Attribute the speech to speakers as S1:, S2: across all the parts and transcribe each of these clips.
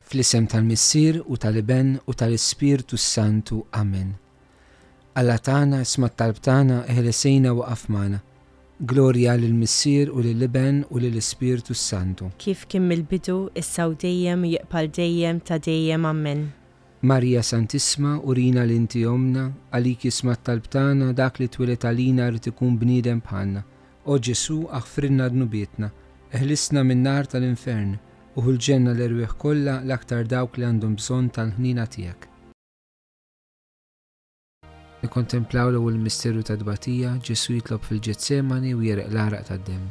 S1: fl-isem tal-Missir u tal-Iben u tal-Ispirtu Santu. Amen. Alla tana, isma talb tana, eħlesejna u qafmana. Glorja lill-Missir u lill-Iben u lill-Ispirtu Santu.
S2: kif kim il-bidu, issa u dejjem u jiqbal dejjem ta' dejjem ammen.
S1: Marija Santisma, urina l-inti omna, għalik jisma tal-btana, dak li twilet għalina rrit ikun bnidem bħanna. O Ġesu, aħfrinna d-nubietna, eħlisna minn-nar tal-infern, uħu l-ġenna l-erwieħ kollha l-aktar dawk li għandhom bżonn tal-ħnina tiegħek. Nikontemplaw l-ewwel misteru ta' dbatija, Ġesu jitlob fil-Ġetsemani u jereq l-araq tad-demm.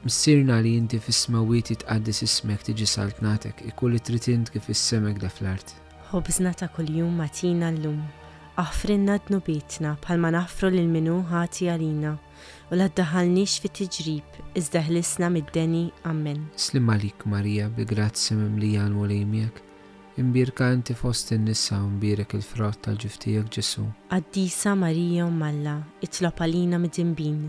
S1: Missirna li jinti fis-smawiet jitqaddis ismek tiġi saltnatek, ikulli tritint kif is-semek da fl-art.
S2: Hobżna ta' kuljum matina l-lum. Aħfrinna dnubietna bħalma naħfru lil minu ħati għalina u la ddaħalniex fit tiġrib iżda ħlisna mid-deni ammen.
S1: Slim għalik Marija bi grazzi mimlija l mulejmijak, imbirka inti fost in-nisa u mbirek il-frott tal-ġiftijak Ġesu.
S2: Addisa Marija u Malla, itlob għalina mid-dinbin,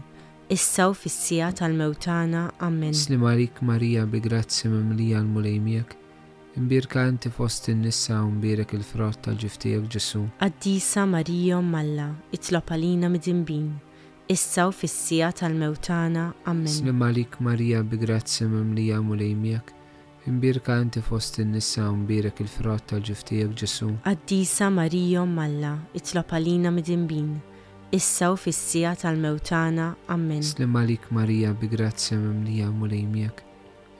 S2: issa u fissija tal-mewtana ammen.
S1: Slim għalik Marija bi grazzi mimlija l mulejmijak, imbirka inti fost in-nisa u mbirek il-frott tal-ġiftijak Ġesu.
S2: Addisa Marija u Malla, itlob għalina mid-dinbin, issa u fissija tal-mewtana ammen.
S1: Slim għalik Marija bi grazzi mimlija l mulejmijak, imbirka inti fost in-nisa u mbirek il-frott tal-ġiftijak Ġesu.
S2: Addisa Marijo Malla, itlob għalina mid-dinbin, issa u fissija tal-mewtana, ammen.
S1: Slim għalik Marija bi grazzi mimlija mulejmijak.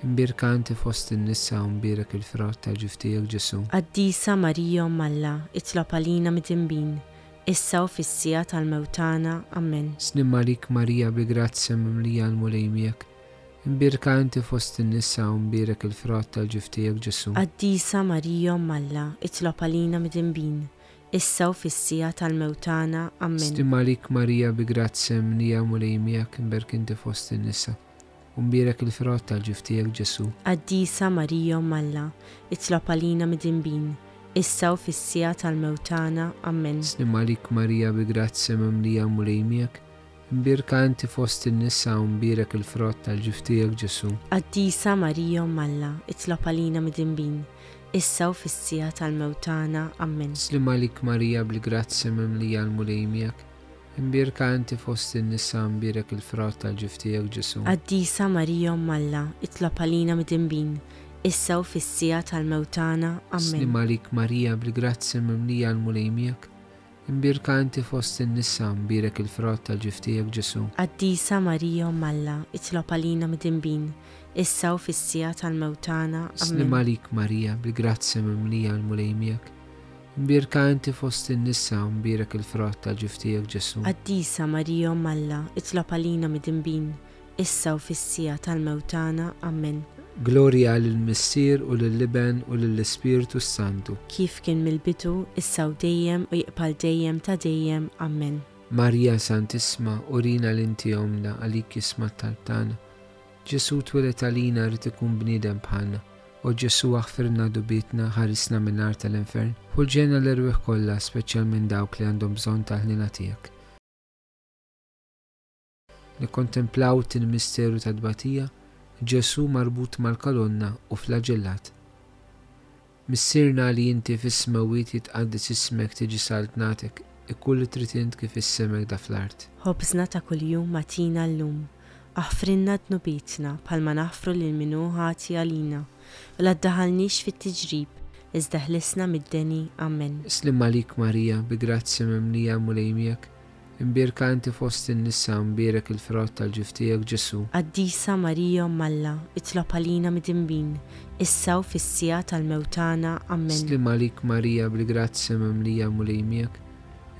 S1: Imbirka inti fost in-nisa u mbirek il-frott tal-ġiftijak Ġesu.
S2: Addisa Marijo Malla, itlob għalina mid-dinbin, issa u fissija tal-mewtana, ammen.
S1: Slim għalik Marija bi grazzi mimlija l-mulejmijak. Imbirka inti fost in-nisa u mbirek il-frott tal-ġiftijak Ġesu.
S2: Addisa Marijo Malla, itlob għalina mid-dinbin, issa u fissija tal-mewtana, ammen.
S1: Slim għalik Marija bi grazzi mimlija mulejmijak. Imbirk inti fost in-nisa u mbirek il-frott tal-ġiftijak Ġesu.
S2: Addisa Marijo Malla, itlob għalina mid-dinbin, issa u fissija tal-mewtana, ammen.
S1: Slim għalik Marija bi grazzi mimlija mulejmijak. Imbirka inti fost in-nisa u mbirek il-frott tal-ġiftijak Ġesu.
S2: Addisa Marijo Malla, itlob għalina mid-dinbin, issa u fissija tal-mewtana, ammen.
S1: Slim għalik Marija bil-grazzi mimlija l-mulejmijak. Imbirka inti fost in-nisa imbirek il-frott tal-ġiftijak Ġesu.
S2: Addisa Marijo Malla, itlob għalina mid-dinbin, issa u fissija tal-mewtana, ammen.
S1: Slim għalik Marija bil-grazzi mimlija l-mulejmijak. Imbirka inti fost in-nisa imbirek il-frott tal-ġiftijak Ġesu.
S2: Addisa Marijo Malla, itlob għalina mid-dinbin, issa u fissija tal-mewtana,
S1: Slim
S2: ammen.
S1: għalik Marija bil-grazzi mimlija l-mulejmijak. Imbirka inti fost in-nisa imbirek il-frott tal-ġiftijak Ġesu.
S2: Addisa Marijo Malla, itlob għalina mid-dinbin, issa u fissija tal-mewtana, ammen.
S1: Glorja lill-Missier u lill-Liben u lill-Ispirtu Santu.
S2: kif kien mill-bidu, issa u dejjem u jiqbal dejjem ta' dejjem, ammen.
S1: Marija Santisma, urina l-inti omna għalik jisma tal-tana. Ġesu twilet għalina rrit ikun bnidem bħalna. U Ġesu għaffirna dubitna ħarisna minnar tal-infern. Hulġena l-erwih kolla, speċjal minn dawk li għandhom bżon tal-ħnina tijak. Nikontemplaw tin misteru ta' dbatija, Ġesu marbut mal-kolonna u flagellat. Missirna li jinti fis-smawit jitqaddis ismek tiġi saltnatek, ikkulli tritint kif is-semek da fl-art.
S2: Hobżna ta' kuljum matina l-lum. Aħfrinna dnubitna palma naħfru lil minu ħati għalina. U la ddaħalnix fit-tiġrib, iżda ħlisna mid-deni, ammen.
S1: Slim għalik Marija, bi grazzi mimlija mulejmijak, imbirka inti fost in-nisa imbirek il-frott tal-ġiftijak Ġesu.
S2: Addisa Marijo Malla, itlob għalina mid-dinbin, issa u fissija tal-mewtana, ammen.
S1: Slim għalik Marija, bi grazzi mimlija mulejmijak,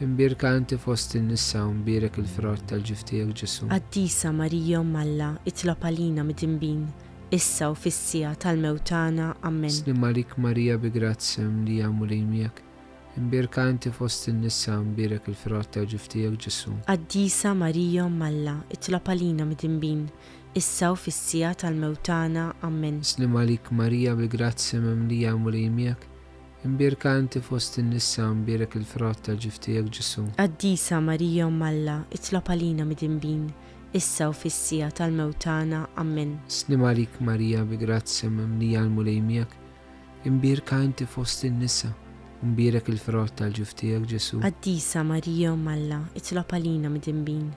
S1: imbirka inti fost in-nisa imbirek il-frott tal-ġiftijak Ġesu.
S2: Addisa Marijo Malla, itlob għalina mid-dinbin, issa u fissija tal-mewtana, ammen.
S1: Slim għalik Marija, bi grazzi mimlija mulejmijak, imbirka inti fost in-nisa imbirek il-frott tal-ġiftijak Ġesu.
S2: Addisa Marijo Malla, itlob għalina mid-dinbin, issa u fissija tal-mewtana, ammen.
S1: Slim għalik Marija bi grazzi mimlija mulejmijak, imbirka inti fost in-nisa imbirek il-frott tal-ġiftijak Ġesu.
S2: Addisa Marijo Malla, itlob għalina mid-dinbin, issa u fissija tal-mewtana, ammen.
S1: Slim għalik Marija bi grazzi mimlija mulejmijak, imbirka inti fost in-nisa, imbirek il-frott tal-ġuftijak Ġesu.
S2: Addisa Marija u Malla, itlob għalina mid-dinbin,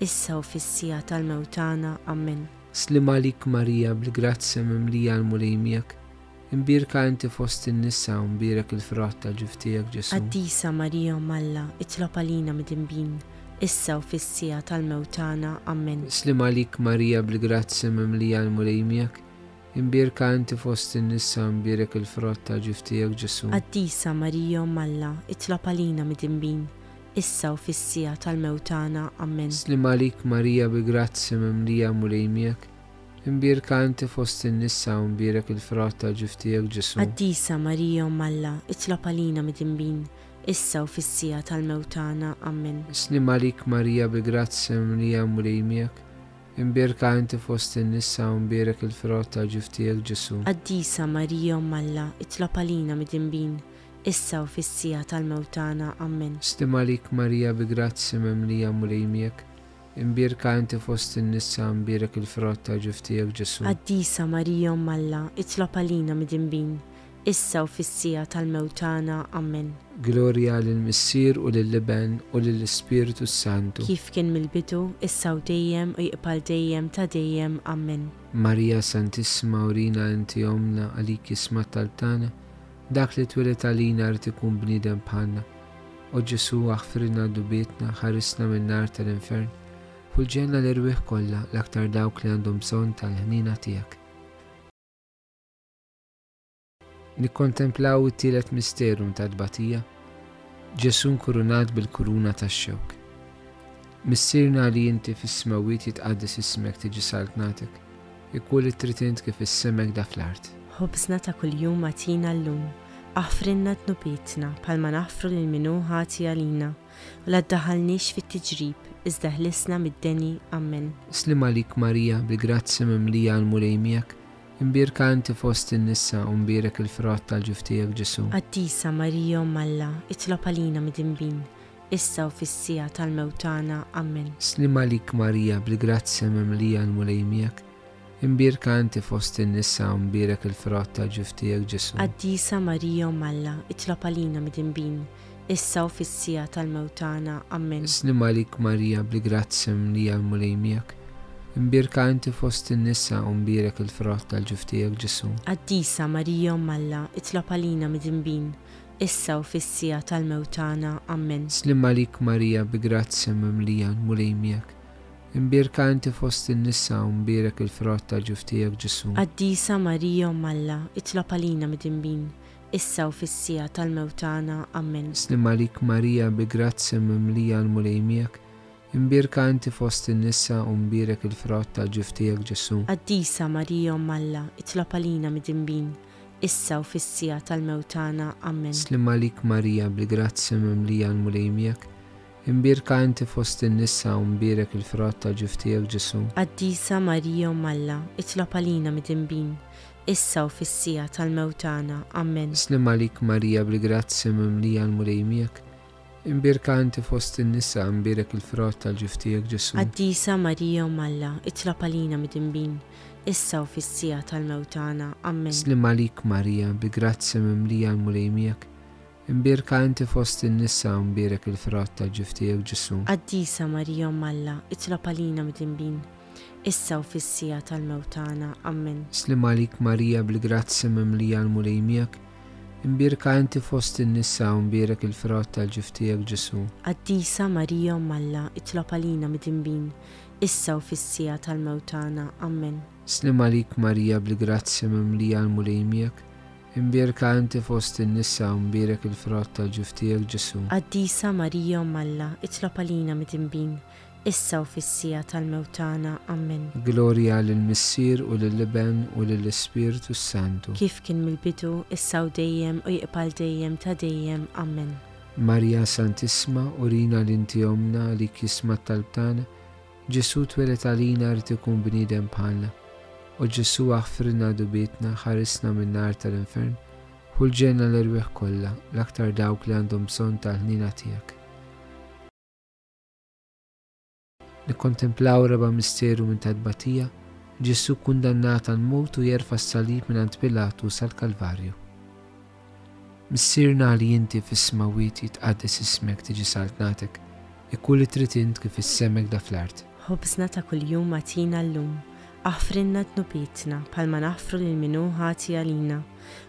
S2: issa u fissija tal-mewtana, ammen.
S1: Slim għalik Marija bil-grazzja mimlija l-mulejmijak, imbirka inti fost in-nisa, imbirek il-frott tal-ġuftijak Ġesu.
S2: Addisa Marija u Malla, itlob għalina mid-dinbin, issa u fissija tal-mewtana, ammen.
S1: Slim għalik Marija bil-grazzja mimlija l-mulejmijak, imbirka inti fost in-nisa, imbirek il-frott tal-ġuftijak Ġesu.
S2: Addisa Marija u Malla, itlob għalina mid-dinbin, issa u fissija tal-mewtana, ammen.
S1: Slim għalik Marija bi grazzi mimlija mulejmijak, imbirka inti fost in-nisa u imbirek il-frott tal-ġuftijak Ġesu.
S2: Addisa Marija u Malla, itlob għalina mid-dinbin, issa u fissija tal-mewtana, ammen.
S1: Slim għalik Marija bi grazzi mimlija mulejmijak, imbirka inti fost in-nisa u imbirek il-frott tal-ġuftijak Ġesu.
S2: Addisa Marija u Malla, itlob għalina mid-dinbin, issa u fissija tal-mewtana, ammen.
S1: Slim għalik Marija bi grazzi mimlija mulejmijak, imbirka inti fost in-nisa u imbirek il-frott tal-ġuftijak Ġesu.
S2: Addisa Marija u Malla, itlob għalina mid-dinbin, issa u fissija tal-mewtana, ammen.
S1: Gloria lill-Missir u lill-Liben u lill-Ispiritu Santu.
S2: Kif kien mill-bidu, issa u dejjem u jqbal dejjem ta' dejjem, ammen.
S1: Marija Santissima urina inti omna għalik jisma tal-tana, dak li twilet għalina rrit ikun bnidem bħalna. O Ġesu aħfirna dubietna ħarisna minn nar tal-infern, fulġenna l-irwih kollha l-aktar dawk li għandhom bżonn tal-ħnina tiegħek. Nikkontemplaw it-tielet misterum ta' tbatija, Ġesu nkurunat bil-kuruna tax-xewk. Missirna li inti fis-smawiet jitqaddis ismek tiġi saltnatek, ikkull it-tritint kif is-semek da fl-art.
S2: Ħobżna ta' kuljum għatina l-lum, aħfrinna d-nubietna palma naħfru l-minu ħati għalina, u la ddaħalniex fit-tġrib, iżda ħlisna mid-deni, ammen.
S1: Slim għalik Marija bi grazzi mimlija għal mulejmijak, imbirka inti fost in-nissa u mbirek il-frott tal-ġuftijak Ġesu.
S2: Addisa Marija u Malla, itlob għalina mid-dinbin, issa u fissija tal-mewtana, ammen.
S1: Slim għalik Marija bi grazzi mimlija għal mulejmijak, imbirka inti fost in-nissa u mbirek il-frott tal-ġuftijak Ġesu.
S2: Addisa Marija u Malla, itlob għalina mid-dinbin, issa u fissija tal-mewtana, ammen.
S1: Slim għalik Marija bi grazzi mimlija għal mulejmijak, imbirka inti fost in-nissa u mbirek il-frott tal-ġuftijak Ġesu.
S2: Addisa Marija u Malla, itlob għalina mid-dinbin, issa u fissija tal-mewtana, ammen.
S1: Slim għalik Marija bi grazzi mimlija mulejmijak. Imbirka inti fost in-nisa u mbirek il-frott tal-ġuftijak Ġesu.
S2: Addisa Marija u Malla, itlob għalina mid-dinbin, issa u fissija tal-mewtana, ammen.
S1: Slim għalik Marija bi grazzi mimlija mulejmijak. Imbirka inti fost in-nisa u mbirek il-frott tal-ġuftijak Ġesu.
S2: Addisa Marija u Malla, itlob għalina mid-dinbin, issa u fissija tal-mewtana, ammen.
S1: Slim għalik Marija bi grazzi mimlija mulejmijak. Imbirka inti fost in-nisa u mbirek il-frott tal-ġuftijak Ġesu.
S2: Addisa Marija u Malla, itlob għalina mid-dinbin, issa u fissija tal-mewtana, ammen.
S1: Slim għalik Marija bi grazzi mimlija mulejmijak. Imbirka inti fost in-nisa u mbirek il-frott tal-ġuftijak Ġesu.
S2: Addisa Marija u Malla, itlob għalina mid-dinbin, issa u fissija tal-mewtana, ammen.
S1: Slim għalik Marija bi grazzi mimlija mulejmijak. Imbirka inti fost in-nisa u mbirek il-frott tal-ġuftijak Ġesu.
S2: Addisa Marija u Malla, itlob għalina mid-dinbin, issa u fissija tal-mewtana, ammen.
S1: Slim għalik Marija bil-grazzi mimlija l-mulejmijak, imbirka inti fost in-nisa u mbirek il-frott tal-ġuftijak Ġesu.
S2: Addisa Marija u Malla, itlob għalina mid-dinbin, issa u fissija tal-mewtana, ammen.
S1: Slim għalik Marija bil-grazzi mimlija l-mulejmijak, imbirka inti fost in-nisa u mbirek il-frott tal-ġuftijak Ġesu.
S2: Addisa Marija u Malla, itlob għalina mid-dinbin, issa u fissija tal-mewtana, ammen.
S1: Gloria lill-Missir u lill-Liben u lill-Ispiritu Santu.
S2: Kif kien mill-bidu, issa u dejjem u jqbal dejjem ta' dejjem, ammen.
S1: Marija Santisma urina l-inti omna li kisma tal-btana, Ġesu twelet għalina rrit ikun bnidem bħalna. U Ġesu aħfirna dubitna ħarisna minn nar tal-infern, ħulġenna l-erwieħ kollha l-aktar dawk li għandhom bżonn tal-ħnina tiegħek. Nikkontemplaw reba misteru minn tadbatija, Ġesu kundannat għal mut u jerfa s-salib minn għand Pilatu sal-Kalvarju. Missirna li jinti fis-smawiet jitqaddes ismek tiġi saltnatek, ikkulli trid int kif issemek da fl-art.
S2: Ħobżna ta' kuljum għatina l-lum, aħfrinna dnubietna palma naħfru lil minu ħati għalina,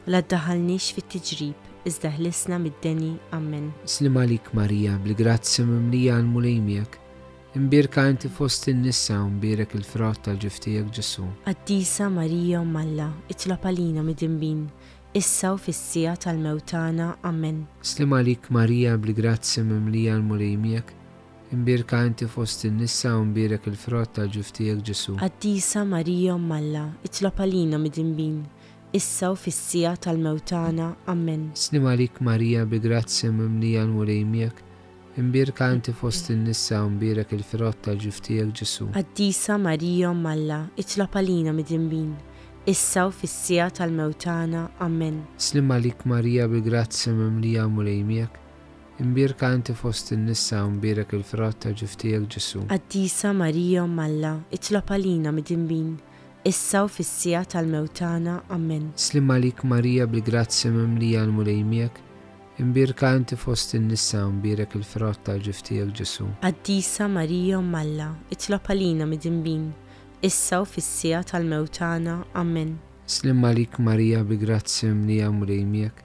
S2: u la ddaħalniex fit-tiġrib, iżda ħlisna mid-deni ammen.
S1: Slim għalik Marija, bl-grazzi mimlija għal mulejmijak, imbirka inti fost in-nissa u mbirek il-frott tal-ġiftijak ġesu.
S2: Addisa Marija u Malla, itlop għalina mid-dinbin, issa u fissija tal-mewtana ammen.
S1: Slim għalik Marija, bl-grazzi mimlija għal mulejmijak, imbirka inti fost in-nissa u mbirek il-frott tal-ġiftijak ġesu.
S2: Addisa Marija u Malla, itlop għalina mid-dinbin, issa u fissija tal-mewtana ammen.
S1: Slim għalik Marija, bl-grazzi mimlija għal mulejmijak, imbirka inti fost in-nissa u mbirek il-frott tal-ġiftijak ġesu.
S2: Addisa Marija u Malla, itlop għalina mid-dinbin, issa u fissija tal-mewtana ammen.
S1: Slim għalik Marija bil-grazzi mimlija mulejmijak, imbirka inti fost in-nissa u mbirek il-frott ta' ġiftijak ġesu.
S2: Addisa Marija u Malla, itlop għalina mid-dinbin, issa u fissija tal-mewtana ammen.
S1: Slim għalik Marija bil-grazzi mimlija mulejmijak, imbirka inti fost in-nissa u mbirek il-frott ta' ġiftijak ġesu.
S2: Addisa Marija u Malla, itlop għalina mid-dinbin, issa u fissija tal-mewtana ammen.
S1: Slim għalik Marija bil-grazzi mimlija mulejmijak,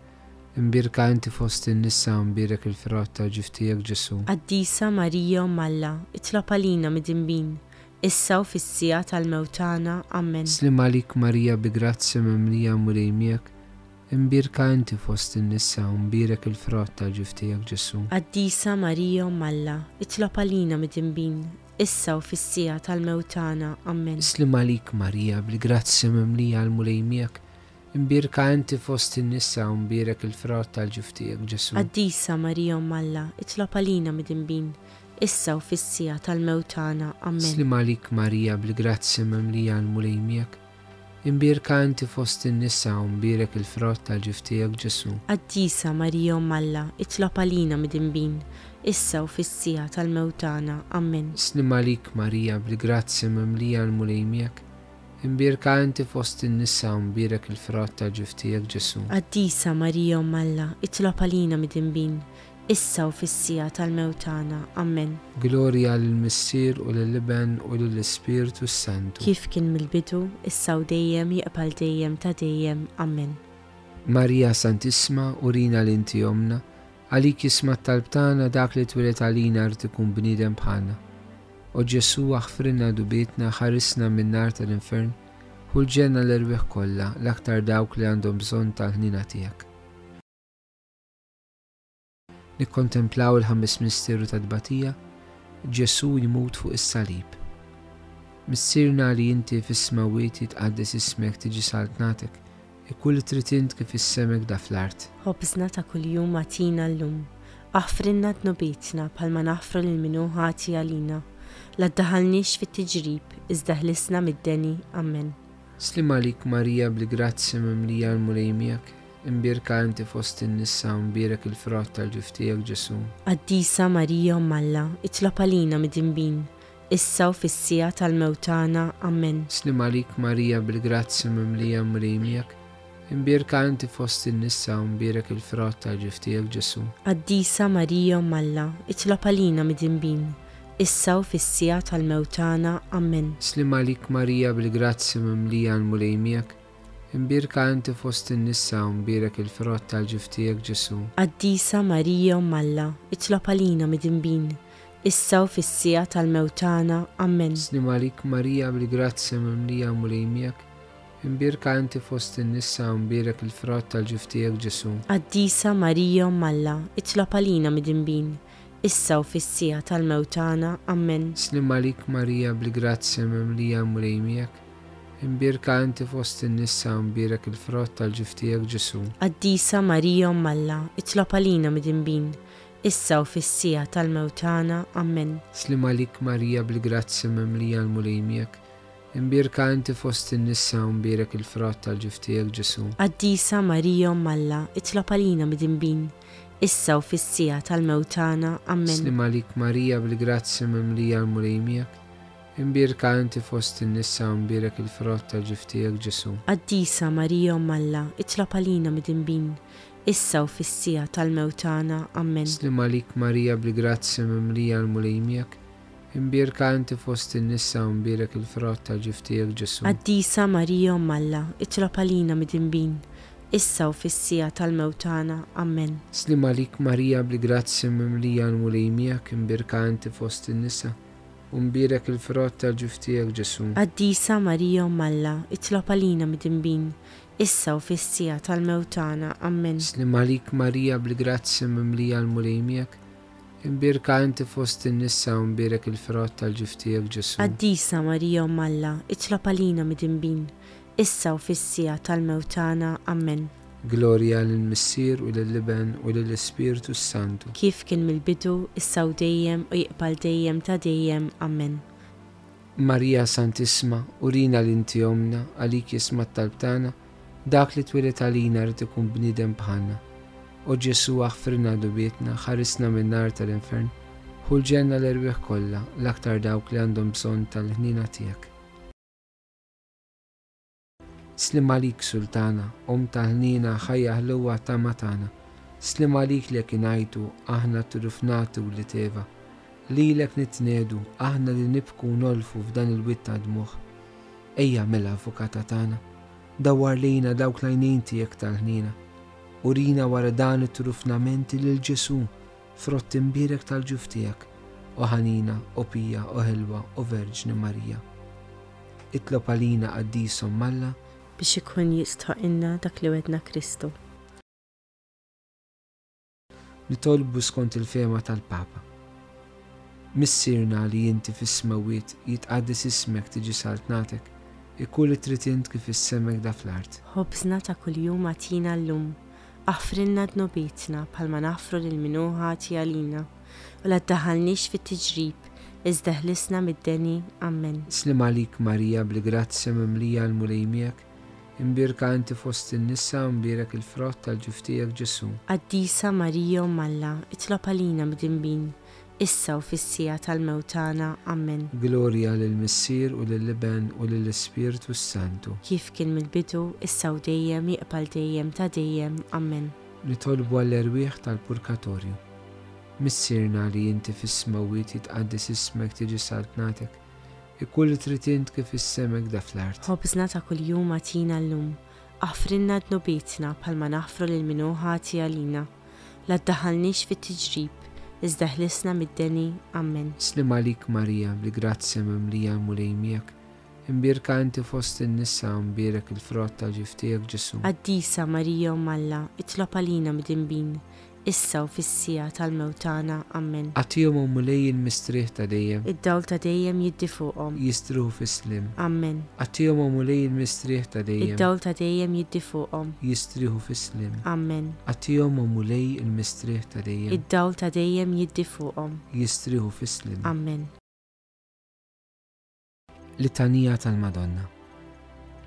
S1: imbirka inti fost in-nissa u mbirek il-frott ta' ġiftijak ġesu.
S2: Addisa Marija u Malla, itlop għalina mid-dinbin, issa u fissija tal-mewtana ammen.
S1: Slim għalik Marija bil-grazzi mimlija mulejmijak, imbirka inti fost in-nissa u mbirek il-frott ta' ġiftijak ġesu.
S2: Addisa Marija u Malla, itlop għalina mid-dinbin, issa u fissija tal-mewtana ammen.
S1: Slim għalik Marija bil-grazzi mimlija għal mulejmijak, imbirka inti fost in-nissa u mbirek il-frott tal-ġiftijak ġesu.
S2: Addisa Marija u Malla, itlop għalina mid-dinbin, issa u fissija tal-mewtana ammen.
S1: Slim għalik Marija bil-grazzi mimlija għal mulejmijak, imbirka inti fost in-nissa u mbirek il-frott tal-ġiftijak ġesu.
S2: Addisa Marija u Malla, itlop għalina mid-dinbin, issa u fissija tal-mewtana ammen.
S1: Slim għalik Marija bil-grazzi mimlija għal mulejmijak, imbirka inti fost in-nissa u mbirek il-frott tal-ġiftijak ġesu.
S2: Addisa Marija u Malla, itlop għalina mid-dinbin, issa u fissija tal-mewtana ammen.
S1: Glorja l-Missir u l-Liben u l-Spiritu Santu.
S2: Kif kien mill-bidu, issa u dejjem jiqbal dejjem ta' dejjem ammen.
S1: Marija Santisma urina l-inti jomna, għalik jisma talbtana dak li twilet għalina rtikun bnidem bħalna. O Ġesu aħfrinna dubietna ħarisna minn nar tal-infern, u l-ġenna l-erbiħ kolla l-aktar dawk li għandhom bżon tal-ħnina tijak. Nikkontemplaw il-ħammis misteru ta' dbatija, Ġesu jimut fuq is-salib. Missirna li inti fis-smawiet jitqaddes ismek tiġi saltnatek, ikkull tritint kif issemek da fl-art.
S2: Ħobżna ta' kuljum matina l-lum. Aħfrinna dnubietna palma naħfru l-minu ħati għalina. La ddaħalniex fit-tiġrib, iżda ħlisna mid-deni. Amen.
S1: Slim għalik Marija bil-grazzi mimlija l-mulejmijak, imbirka inti fost in-nissa u mbirek il-frott tal-ġiftijak ġesu.
S2: Addisa Marija u Malla, itlop għalina mid-dinbin, issa u fissija tal-mewtana. Amen.
S1: Slim għalik Marija bil-grazzi mimlija mulejmijak, imbirka inti fost in-nissa u mbirek il-frott tal-ġiftijak ġesu.
S2: Addisa Marija u Malla, itlop għalina mid-dinbin, issa u fissija tal-mewtana. Amen.
S1: Slim għalik Marija bil-grazzi mimlija l-mulejmijak, imbirka inti fost in-nissa u mbirek il-frott tal-ġiftijak ġesu.
S2: Addisa Marija u Malla, itlop għalina mid-dinbin, issa u fissija tal-mewtana. Amen.
S1: Slim għalik Marija bil-grazzi mimlija mulejmijak, imbirka inti fost in-nissa u mbirek il-frott tal-ġiftijak ġesu.
S2: Addisa Marija u Malla, itlop għalina mid-dinbin, issa u fissija tal-mewtana. Amen.
S1: Slim għalik Marija bil-grazzi mimlija mulejmijak, imbirka inti fost in-nissa u mbirek il-frott tal-ġiftijak ġesu.
S2: Addisa Marija u Malla, itlop għalina mid-dinbin, issa u fissija tal-mewtana. Amen.
S1: Slim għalik Marija bil-grazzi mimlija l-mulejmijak, imbirka inti fost in-nissa u mbirek il-frott tal-ġiftijak ġesu.
S2: Addisa Marija u Malla, itlop għalina mid-dinbin, issa u fissija tal-mewtana. Amen.
S1: Slim għalik Marija bil-grazzi mimlija l-mulejmijak, imbirka inti fost in-nissa u mbirek il-frott tal-ġiftijak ġesu.
S2: Addisa Marija u Malla, itlop għalina mid-dinbin, issa u fissija tal-mewtana. Amen.
S1: Slim għalik Marija bil-grazzja mimlija l-mulejmijak, imbirka inti fost in-nissa u mbirek il-frott tal-ġiftijek ġesu.
S2: Addisa Marija u Malla, itlop għalina mid-imbin, issa u fissija tal-mewtana. Amen.
S1: Slim għalik Marija bil-grazzja mimlija l-mulejmijak, imbirka inti fost in-nissa u mbirek il-frott tal-ġiftijek ġesu.
S2: Addisa Marija u Malla, itlop għalina mid-imbin, issa u fissija tal-mewtana. Amen.
S1: Slim għalik Marija bil-grazzja mimlija l-mulejmijak, imbirka inti fost in-nissa u mbirek il-frott tal-ġiftijek ġesu.
S2: Addisa Marija u Malla, itlop għalina mid-imbin, issa u fissija tal-mewtana. Amen.
S1: Gloria l-Missir u l-Liben u l-Spiritu Santu.
S2: Kif kien mill-bidu, issa u dejjem u jiqbal dejjem ta' dejjem. Amen.
S1: Marija Santisma, urina l-inti omna, għalik jisma talbtana, dak li twilet għalina rrit ikun bnidem bħanna. O Ġesu għaffirna dubietna, ħarisna minn nar tal-infern, ħulġenna l-erwieħ kollha, l-aktar dawk li għandhom bżonn tal-ħnina tiegħek. Slim għalik sultana, om taħnina ħajja ħluwa ta' matana. Slim għalik li kinajtu, aħna turufnatu li teva. Lilek nitnedu, aħna li nibku nolfu f'dan il-witta dmuħ. Ejja mela avukata tana, dawar lejna dawk lajnejn tiegħek tal-ħnina. Urina wara dan it-turufnamenti lil ġesu, frott imbirek tal-ġuftijak, o ħanina, o pija, o ħelwa, o Verġni Marija. Itlob għalina għaddisom malla,
S2: biex ikun jistħaqinna dak li wedna Kristu.
S1: nitolbu skont il-fema tal-Papa. Missirna li jinti fis-smawiet jitqaddis ismek tiġi saltnatek, ikulli tritint kif is-semek da fl-art.
S2: Ħobżna ta' kuljum għatina l-lum, aħfrinna d-nobietna palma naħfru l-minuħa tijalina, u la d-daħalnix fit-tġrib, iżda ħlisna mid-deni, ammen.
S1: Slim għalik Marija bil-grazzja mimlija l-mulejmijak, imbirka inti fost in-nissa imbirek il-frott tal-ġuftijak Ġesu.
S2: Addisa Marija u Malla, itlop għalina mid-imbin, issa u fissija tal-mewtana, ammen.
S1: Gloria lill-Missir u lill-Liben u lill-Spiritu Santu.
S2: Kif kien mill-bidu, issa u dejjem jiqbal dejjem ta' dejjem, ammen.
S1: nitolbu għall-erwieħ tal-purkatorju. Missirna li jinti fis-smawiet jitqaddis ismek tiġi saltnatek, ikulli tritint kif is-semek da fl-art.
S2: Ħobżna ta' kuljum għatina l-lum, aħfrinna d-nobietna palma naħfru l-minuħa tijalina, la d-daħalnix fit-tġrib, iżda ħlisna mid-deni, ammen.
S1: Slim għalik Marija li grazzja mimlija mulejmijak, imbirka inti fost in-nissa imbirek il-frott tal-ġiftijak Ġesu.
S2: Addisa Marija u Malla, itlop għalina mid-imbin, issa u fissija tal-mewtana, ammen.
S1: Għatijom u mulejjin mistrieħ ta' dejjem,
S2: Id-dawl ta' dejjem jiddi fuqhom,
S1: jistruħu fis-slim.
S2: ammen.
S1: Għatijom u mulejjin mistrieħ ta' dejjem,
S2: Id-dawl ta' dejjem jiddi fuqhom,
S1: jistriħu fis-slim.
S2: ammen.
S1: Għatijom u mulej il-mistrieħ ta' dejjem,
S2: Id-dawl ta' dejjem jiddi fuqhom,
S1: jistriħu fis-slim.
S2: ammen.
S1: Litanija tal-Madonna.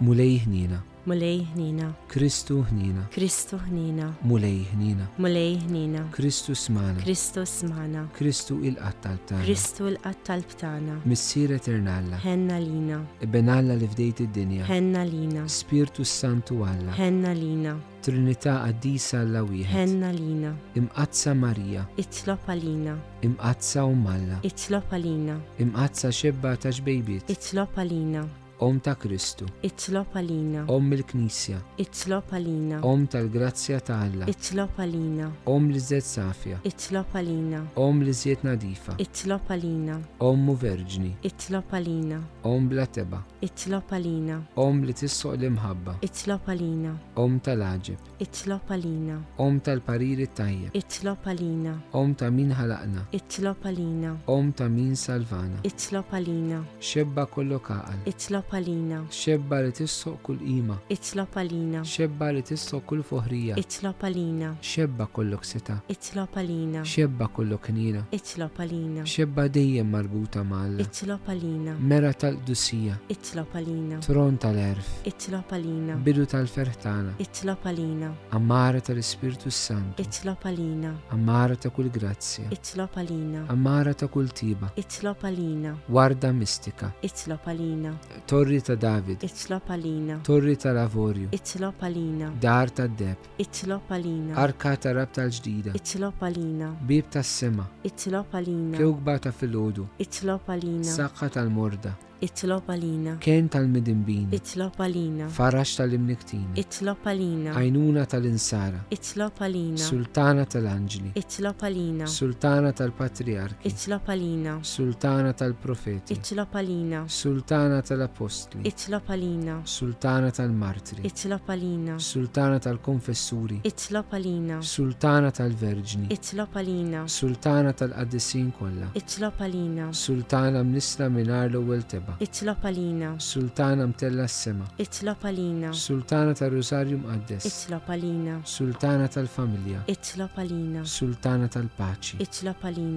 S1: Mulej ħnina,
S2: Mulej ħnina,
S1: Kristu ħnina,
S2: Kristu ħnina,
S1: mulej ħnina,
S2: mulej ħnina,
S1: Kristu smana,
S2: Kristu smana,
S1: Kristu il-qattal tagħna.
S2: Kristu l-qattal btana,
S1: Missier eternalla,
S2: ħenna lina,
S1: benalla li fdejt id-dinja,
S2: ħenna lina,
S1: Spiritu Santu Alla,
S2: ħenna lina,
S1: Trinità Addisa alla wieħed,
S2: ħenna lina,
S1: imqazza Marija,
S2: itlop għalina,
S1: imqazza Ummalla,
S2: itlop għalina,
S1: imqazza xebba ta' xbejbiet,
S2: itlop għalina,
S1: Om ta' Kristu,
S2: itlop għalina,
S1: Om il-Knisja,
S2: itlop għalina,
S1: Om tal-Grazzja ta' Alla,
S2: itlop għalina,
S1: Om li zed safja,
S2: itlop għalina,
S1: Om li zed nadifa,
S2: itlop għalina,
S1: Om mu verġni,
S2: itlop għalina,
S1: Om bla teba,
S2: itlop għalina,
S1: Om li tissoq l-imħabba,
S2: itlop għalina,
S1: Om tal-ħagġib,
S2: itlop għalina,
S1: Om tal-pariri tajjeb,
S2: itlop għalina,
S1: Om ta' min ħalaqna,
S2: itlop għalina,
S1: Om ta' min salvana,
S2: itlop għalina,
S1: xebba kollu kaqal,
S2: itlop għalina,
S1: xebba li tissoq kull qima,
S2: itlop għalina,
S1: xebba li tissoq kull fuħrija,
S2: itlop għalina,
S1: xebba kollok seta,
S2: itlop għalina,
S1: xebba kollok knina,
S2: itlop għalina,
S1: xebba dejjem marbuta malla,
S2: itlop għalina,
S1: mera tal-qdusija,
S2: itlop għalina,
S1: tron tal-erf,
S2: itlop għalina,
S1: bidu tal-ferħtana,
S2: itlop għalina,
S1: ammara tal-Ispirtu Santu,
S2: itlop għalina,
S1: ammara ta' kull grazzja,
S2: itlop għalina,
S1: ammara ta' kull tiba,
S2: itlop għalina,
S1: warda mistika,
S2: itlop għalina,
S1: tor torri ta' David,
S2: itlob għalina,
S1: torri ta' lavorju,
S2: itlob għalina,
S1: dar ta' deb,
S2: itlob għalina,
S1: arka ta' rabta l-ġdida,
S2: itlob għalina,
S1: bib ta' sema,
S2: itlob għalina,
S1: kewkba ta' filgħodu,
S2: itlob għalina,
S1: saqqa tal-morda,
S2: itlob għalina,
S1: ken tal-midimbin,
S2: itlob għalina,
S1: farax tal-imniktini,
S2: itlob għalina,
S1: għajnuna tal-insara,
S2: itlob għalina,
S1: sultana tal-anġli,
S2: itlob għalina,
S1: sultana tal-patriarki,
S2: itlob għalina,
S1: sultana tal-profeti,
S2: itlob għalina,
S1: sultana tal-apostli,
S2: itlob għalina,
S1: sultana tal-martri,
S2: itlob għalina,
S1: sultana tal-konfessuri,
S2: itlob għalina,
S1: sultana tal-verġni,
S2: itlob għalina,
S1: sultana tal-qaddisin kollha,
S2: itlob għalina,
S1: sultana mnisla minar l-ewwel teba,
S2: itlob għalina,
S1: sultana mtella s-sema,
S2: itlob għalina,
S1: sultana tal-Rosarju mqaddes,
S2: itlob għalina,
S1: sultana tal-familja,
S2: itlob għalina,
S1: sultana tal-paċi,
S2: itlob għalina,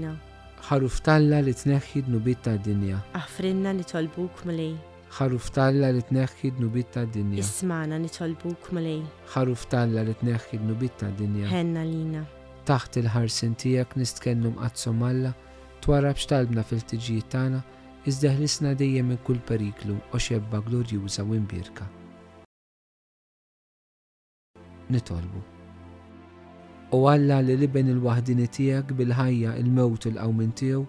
S1: ħaruftalla li tneħħi d-nubit tad-dinja,
S2: Aħfrinna nitolbuk mlej,
S1: ħaruftalla li tneħħi d-nubit tad-dinja,
S2: ismana nitolbuk mlej,
S1: ħaruftalla li tneħħi d-nubit tad-dinja,
S2: ħenna lina,
S1: taħt il-ħarsin tiegħek nistkellmu mqazzom Alla, twarab xtalbna fil-tiġijiet tagħna, iżdeħlisna dejjem minn kull periklu u xebba glorjuża u imbirka. Nitolbu. U Alla li liben il-waħdini tiegħek bil-ħajja il-mewt il-qawmin tiegħu,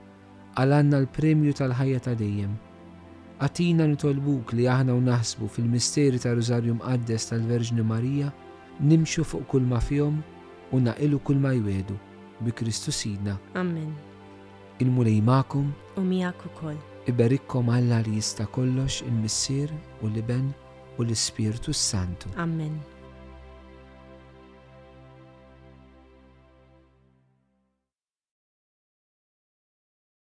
S1: għalanna l-premju tal-ħajja ta' dejjem. Atina nitolbuk li aħna u naħsbu fil-misteri ta' Rożarju Mqaddes tal-Verġni Marija, nimxu fuq kull ma fihom u naqilu kull ma jwedu bi Kristu sidna
S2: Amen.
S1: il-mulej ma'kum
S2: U miegħek ukoll.
S1: iberikkom Alla li jista kollox il-missir u l-iben u l-Ispirtu Santu.
S2: Amen.